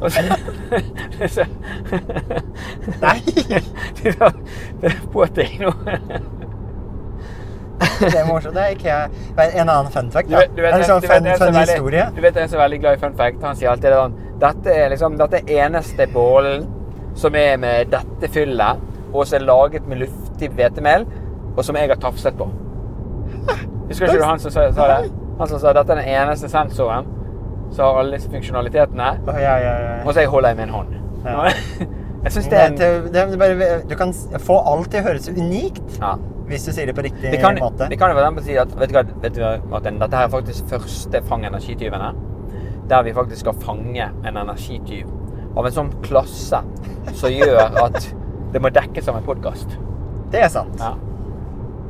Speaker 1: Og så- [LAUGHS]
Speaker 2: Nei.
Speaker 1: Det var- det er på ting nå.
Speaker 2: [LAUGHS] Det er morsomt. Det er Ikea. En annen fun fact.
Speaker 1: Du
Speaker 2: Da.
Speaker 1: vet, du vet,
Speaker 2: det er en sånn
Speaker 1: du vet,
Speaker 2: fun,
Speaker 1: en som
Speaker 2: fun
Speaker 1: er veldig-
Speaker 2: historie.
Speaker 1: Du vet en som er veldig glad i fun fact. Han sier alltid sånn Dette er liksom Dette er eneste bollen som er med dette fyllet, og som er laget med luftig hvetemel, og som jeg har tafset på. Husker ikke du han som sa, sa det? Han som sa dette er den eneste sensoren som har alle disse funksjonalitetene.
Speaker 2: Å, ja, ja, ja.
Speaker 1: Og så jeg holder jeg med en hånd.
Speaker 2: Ja.
Speaker 1: Jeg synes det er
Speaker 2: Det,
Speaker 1: en...
Speaker 2: det, det, er bare, du kan s- få alt til å høres unikt
Speaker 1: Ja.
Speaker 2: hvis du sier det på riktig
Speaker 1: Vi kan,
Speaker 2: måte.
Speaker 1: vi kan jo for eksempel si at vet du hva, vet du hva, Martin, dette her er faktisk første Fang energityvene. Der vi faktisk skal fange en energityv av en sånn klasse som gjør at det må dekkes av en podkast.
Speaker 2: Det er sant.
Speaker 1: Ja.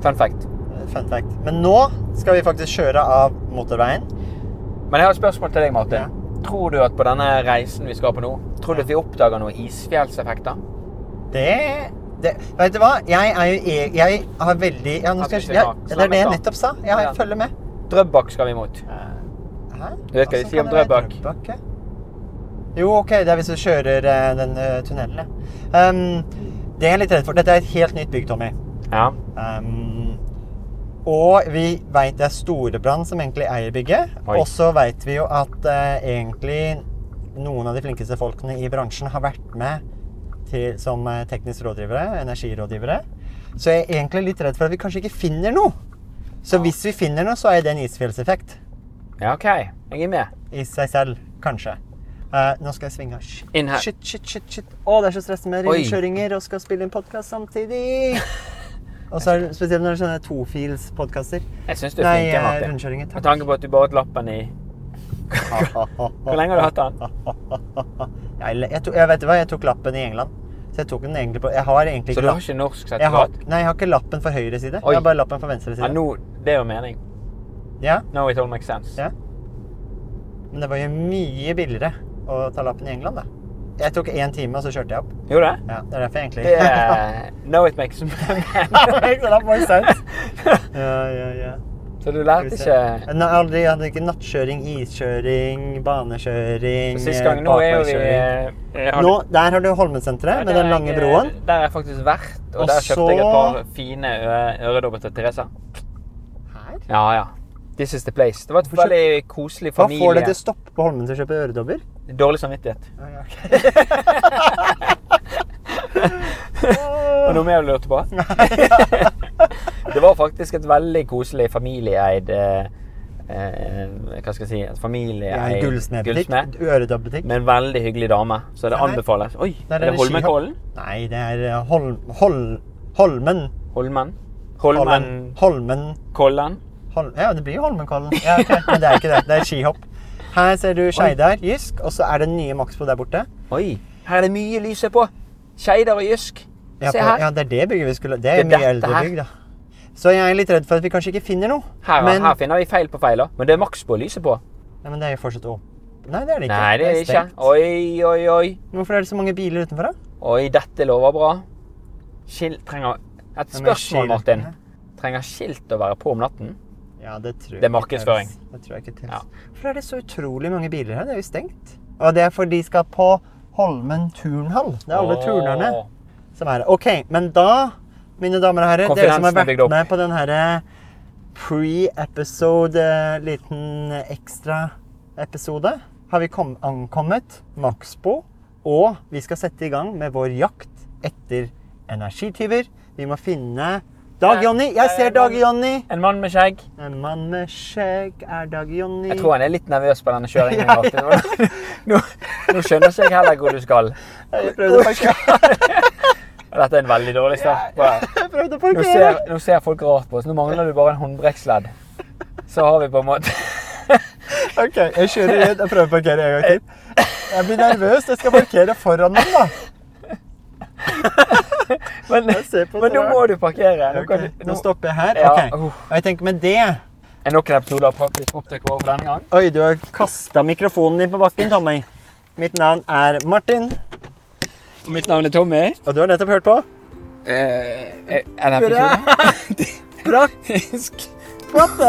Speaker 1: Fun fact.
Speaker 2: Fun fact. Men nå skal vi faktisk kjøre av motorveien.
Speaker 1: Men jeg har et spørsmål til deg, Martin.
Speaker 2: Ja.
Speaker 1: Tror du at på denne reisen vi skal på nå, tror du at vi oppdager noen isfjellseffekter?
Speaker 2: Det, det Vet du hva? Jeg er jo e- Jeg har veldig ja, nå skal jeg, ja, Det er det jeg nettopp sa. Jeg har- jeg følger med.
Speaker 1: Drøbak skal vi imot.
Speaker 2: Hæ?
Speaker 1: Du vet hva de
Speaker 2: Altså,
Speaker 1: sier om
Speaker 2: kan det være
Speaker 1: Drøbak?
Speaker 2: ja? Jo, OK, det er hvis du kjører eh, den eh, tunnelen, ja. Um, det er jeg litt redd for. Dette er et helt nytt bygg, Tommy.
Speaker 1: Ja.
Speaker 2: Um, og vi veit det er Storebrand som egentlig eier bygget.
Speaker 1: Oi.
Speaker 2: Og så veit vi jo at eh, egentlig noen av de flinkeste folkene i bransjen har vært med til, som eh, teknisk rådgivere, energirådgivere. Så jeg er egentlig litt redd for at vi kanskje ikke finner noe. Så
Speaker 1: Ja.
Speaker 2: hvis vi finner noe, så er det en isfjellseffekt
Speaker 1: ja, OK. Jeg er med.
Speaker 2: i seg selv, kanskje. Eh, nå skal jeg svinge. Shit,
Speaker 1: Inn her.
Speaker 2: shit, shit, shit, shit. Å, det er så stressende med
Speaker 1: Oi.
Speaker 2: rundkjøringer og skal spille en podkast samtidig.
Speaker 1: [LAUGHS]
Speaker 2: Og så er det spesielt når det er sånne tofils-podkaster.
Speaker 1: Jeg syns du er
Speaker 2: Nei,
Speaker 1: flink,
Speaker 2: eh,
Speaker 1: Martin.
Speaker 2: rundkjøringer.
Speaker 1: Med
Speaker 2: Takk.
Speaker 1: tanke på at du bare hadde lappen i Hvor lenge har du hatt den?
Speaker 2: [LAUGHS] Jeg, jeg, tok, jeg vet du hva, jeg tok lappen i England. Så jeg tok den egentlig på Jeg har egentlig
Speaker 1: Så
Speaker 2: ikke
Speaker 1: du har
Speaker 2: lapp.
Speaker 1: ikke norsk
Speaker 2: Jeg har,
Speaker 1: sertifikat?
Speaker 2: nei, jeg har ikke lappen for høyre side.
Speaker 1: Oi.
Speaker 2: Jeg har bare lappen for venstre
Speaker 1: Ja,
Speaker 2: side.
Speaker 1: nå, det er jo mening.
Speaker 2: Ja,
Speaker 1: Now it all makes sense.
Speaker 2: Ja. Men det var jo mye billigere å ta lappen i England, da. Jeg tok én time, og så kjørte jeg opp.
Speaker 1: Jo, det?
Speaker 2: Ja, det er derfor jeg egentlig
Speaker 1: det er, eh, now it makes [LAUGHS]
Speaker 2: [LAUGHS] Ikke sant, that makes
Speaker 1: sense.
Speaker 2: ja, ja, ja.
Speaker 1: Så du
Speaker 2: Skal
Speaker 1: lærte
Speaker 2: vi se.
Speaker 1: ikke
Speaker 2: Nei, aldri, jeg hadde ikke nattkjøring, iskjøring, banekjøring,
Speaker 1: Sist gang nå er jo vi
Speaker 2: bakveiskjøring.
Speaker 1: jeg har-
Speaker 2: Nå, Der har du Holmensenteret med
Speaker 1: Der
Speaker 2: den lange
Speaker 1: jeg-
Speaker 2: broen.
Speaker 1: Der har jeg faktisk vært, og,
Speaker 2: Og
Speaker 1: der kjøpte jeg et
Speaker 2: så-
Speaker 1: par fine ø- øredobber til Teresa.
Speaker 2: Her?
Speaker 1: Ja, ja. This is the place. Det var et
Speaker 2: Hvorfor kjøp-
Speaker 1: veldig koselig
Speaker 2: Hva får deg
Speaker 1: familie.
Speaker 2: til å stoppe på Holmen til å kjøpe øredobber?
Speaker 1: Dårlig samvittighet.
Speaker 2: Ah, [LAUGHS] ja, ok.
Speaker 1: Og [LAUGHS] noe mer du lurte på? det var faktisk et veldig koselig familieeid eh, eh, Hva skal jeg si? Et
Speaker 2: Det er
Speaker 1: familieeid
Speaker 2: en gullsmedbutikk.
Speaker 1: gullsmed.
Speaker 2: Øredobbebutikk.
Speaker 1: Med en veldig hyggelig dame. Så det
Speaker 2: Se her.
Speaker 1: anbefales. Oi,
Speaker 2: Der er
Speaker 1: er det
Speaker 2: det skihopp.
Speaker 1: Holmenkollen?
Speaker 2: Nei, det er eh, Holm... Hol, Holmen.
Speaker 1: Holmen?
Speaker 2: Holmen.
Speaker 1: Holmenkollen?
Speaker 2: Holmen. Holm, ja, det blir jo Holmenkollen. Ja, ok, Men det er ikke det. Det er skihopp. Her ser du Skeidar, Jysk, og så er det nye Maxbo der borte.
Speaker 1: Oi, her er det mye lys på. Skeidar og Jysk.
Speaker 2: Ja,
Speaker 1: Se
Speaker 2: på-
Speaker 1: her.
Speaker 2: Ja, det er det bygget vi skulle Det
Speaker 1: Det
Speaker 2: er
Speaker 1: er
Speaker 2: mye
Speaker 1: dette
Speaker 2: eldre
Speaker 1: her.
Speaker 2: bygg, da. Så jeg er litt redd for at vi kanskje ikke finner noe.
Speaker 1: Her,
Speaker 2: men,
Speaker 1: her finner vi feil på feil, da. Men det er maks på lyset på.
Speaker 2: Nei, men det er jo fortsatt opp. Nei, det er det ikke.
Speaker 1: Nei, det er det ikke.
Speaker 2: stengt.
Speaker 1: Oi, oi, oi.
Speaker 2: Hvorfor er det så mange biler utenfor, da?
Speaker 1: Oi, dette lover bra. Skilt trenger Et
Speaker 2: Ja, men
Speaker 1: spørsmål,
Speaker 2: skilt-
Speaker 1: Martin. Trenger skilt å være på om natten?
Speaker 2: Ja, det tror
Speaker 1: Det
Speaker 2: jeg
Speaker 1: er
Speaker 2: ikke
Speaker 1: markedsføring.
Speaker 2: tels. Det tror jeg ikke tels.
Speaker 1: Ja.
Speaker 2: Hvorfor er det så utrolig mange biler her? Det er jo stengt. Og det er fordi de skal på Holmen turnhall. Det er alle
Speaker 1: Åh.
Speaker 2: turnerne. som er OK, men da, mine damer og herrer, dere som har
Speaker 1: Konfidensen er bygd
Speaker 2: vært
Speaker 1: opp.
Speaker 2: med på den herre pre-episode, eh, liten ekstra-episode, har vi kom, ankommet Maxbo, og vi skal sette i gang med vår jakt etter energityver. Vi må finne Dag Jonny! Jeg ser Dag Jonny!
Speaker 1: En mann med skjegg.
Speaker 2: En mann med skjegg er Dag Jonny.
Speaker 1: Jeg tror han er litt nervøs på denne [LAUGHS] kjøringen.
Speaker 2: Ja, ja,
Speaker 1: Martin. Nå, nå skjønner ikke jeg heller hvor du skal.
Speaker 2: Jeg prøvde å parkere.
Speaker 1: Dette er en veldig dårlig start. på det.
Speaker 2: [LAUGHS] Jeg prøvde å
Speaker 1: Nå
Speaker 2: parkere.
Speaker 1: ser, nå ser folk rart på oss. Nå mangler du bare en håndbreksledd. Så har vi på en måte [LAUGHS]
Speaker 2: Ok, jeg kjører inn. Jeg prøver å parkere en gang til. Jeg blir nervøs. Jeg skal parkere foran dem, da.
Speaker 1: Men,
Speaker 2: [LAUGHS] Jeg ser på
Speaker 1: men
Speaker 2: det
Speaker 1: nå
Speaker 2: rart.
Speaker 1: må du parkere. Nå kan,
Speaker 2: Ok,
Speaker 1: du-
Speaker 2: Nå oh.
Speaker 1: nå,
Speaker 2: stopper jeg her.
Speaker 1: Ja,
Speaker 2: Ok.
Speaker 1: uff.
Speaker 2: Og jeg tenker med det
Speaker 1: er noen episoder faktisk opptatt over for denne gang?
Speaker 2: Oi, du har kasta mikrofonen din på bakken, Tommy. Mitt navn er Martin,
Speaker 1: Mitt navn er Tommy.
Speaker 2: og du har nettopp hørt på
Speaker 1: Eh, en Praktisk.
Speaker 2: Bratte.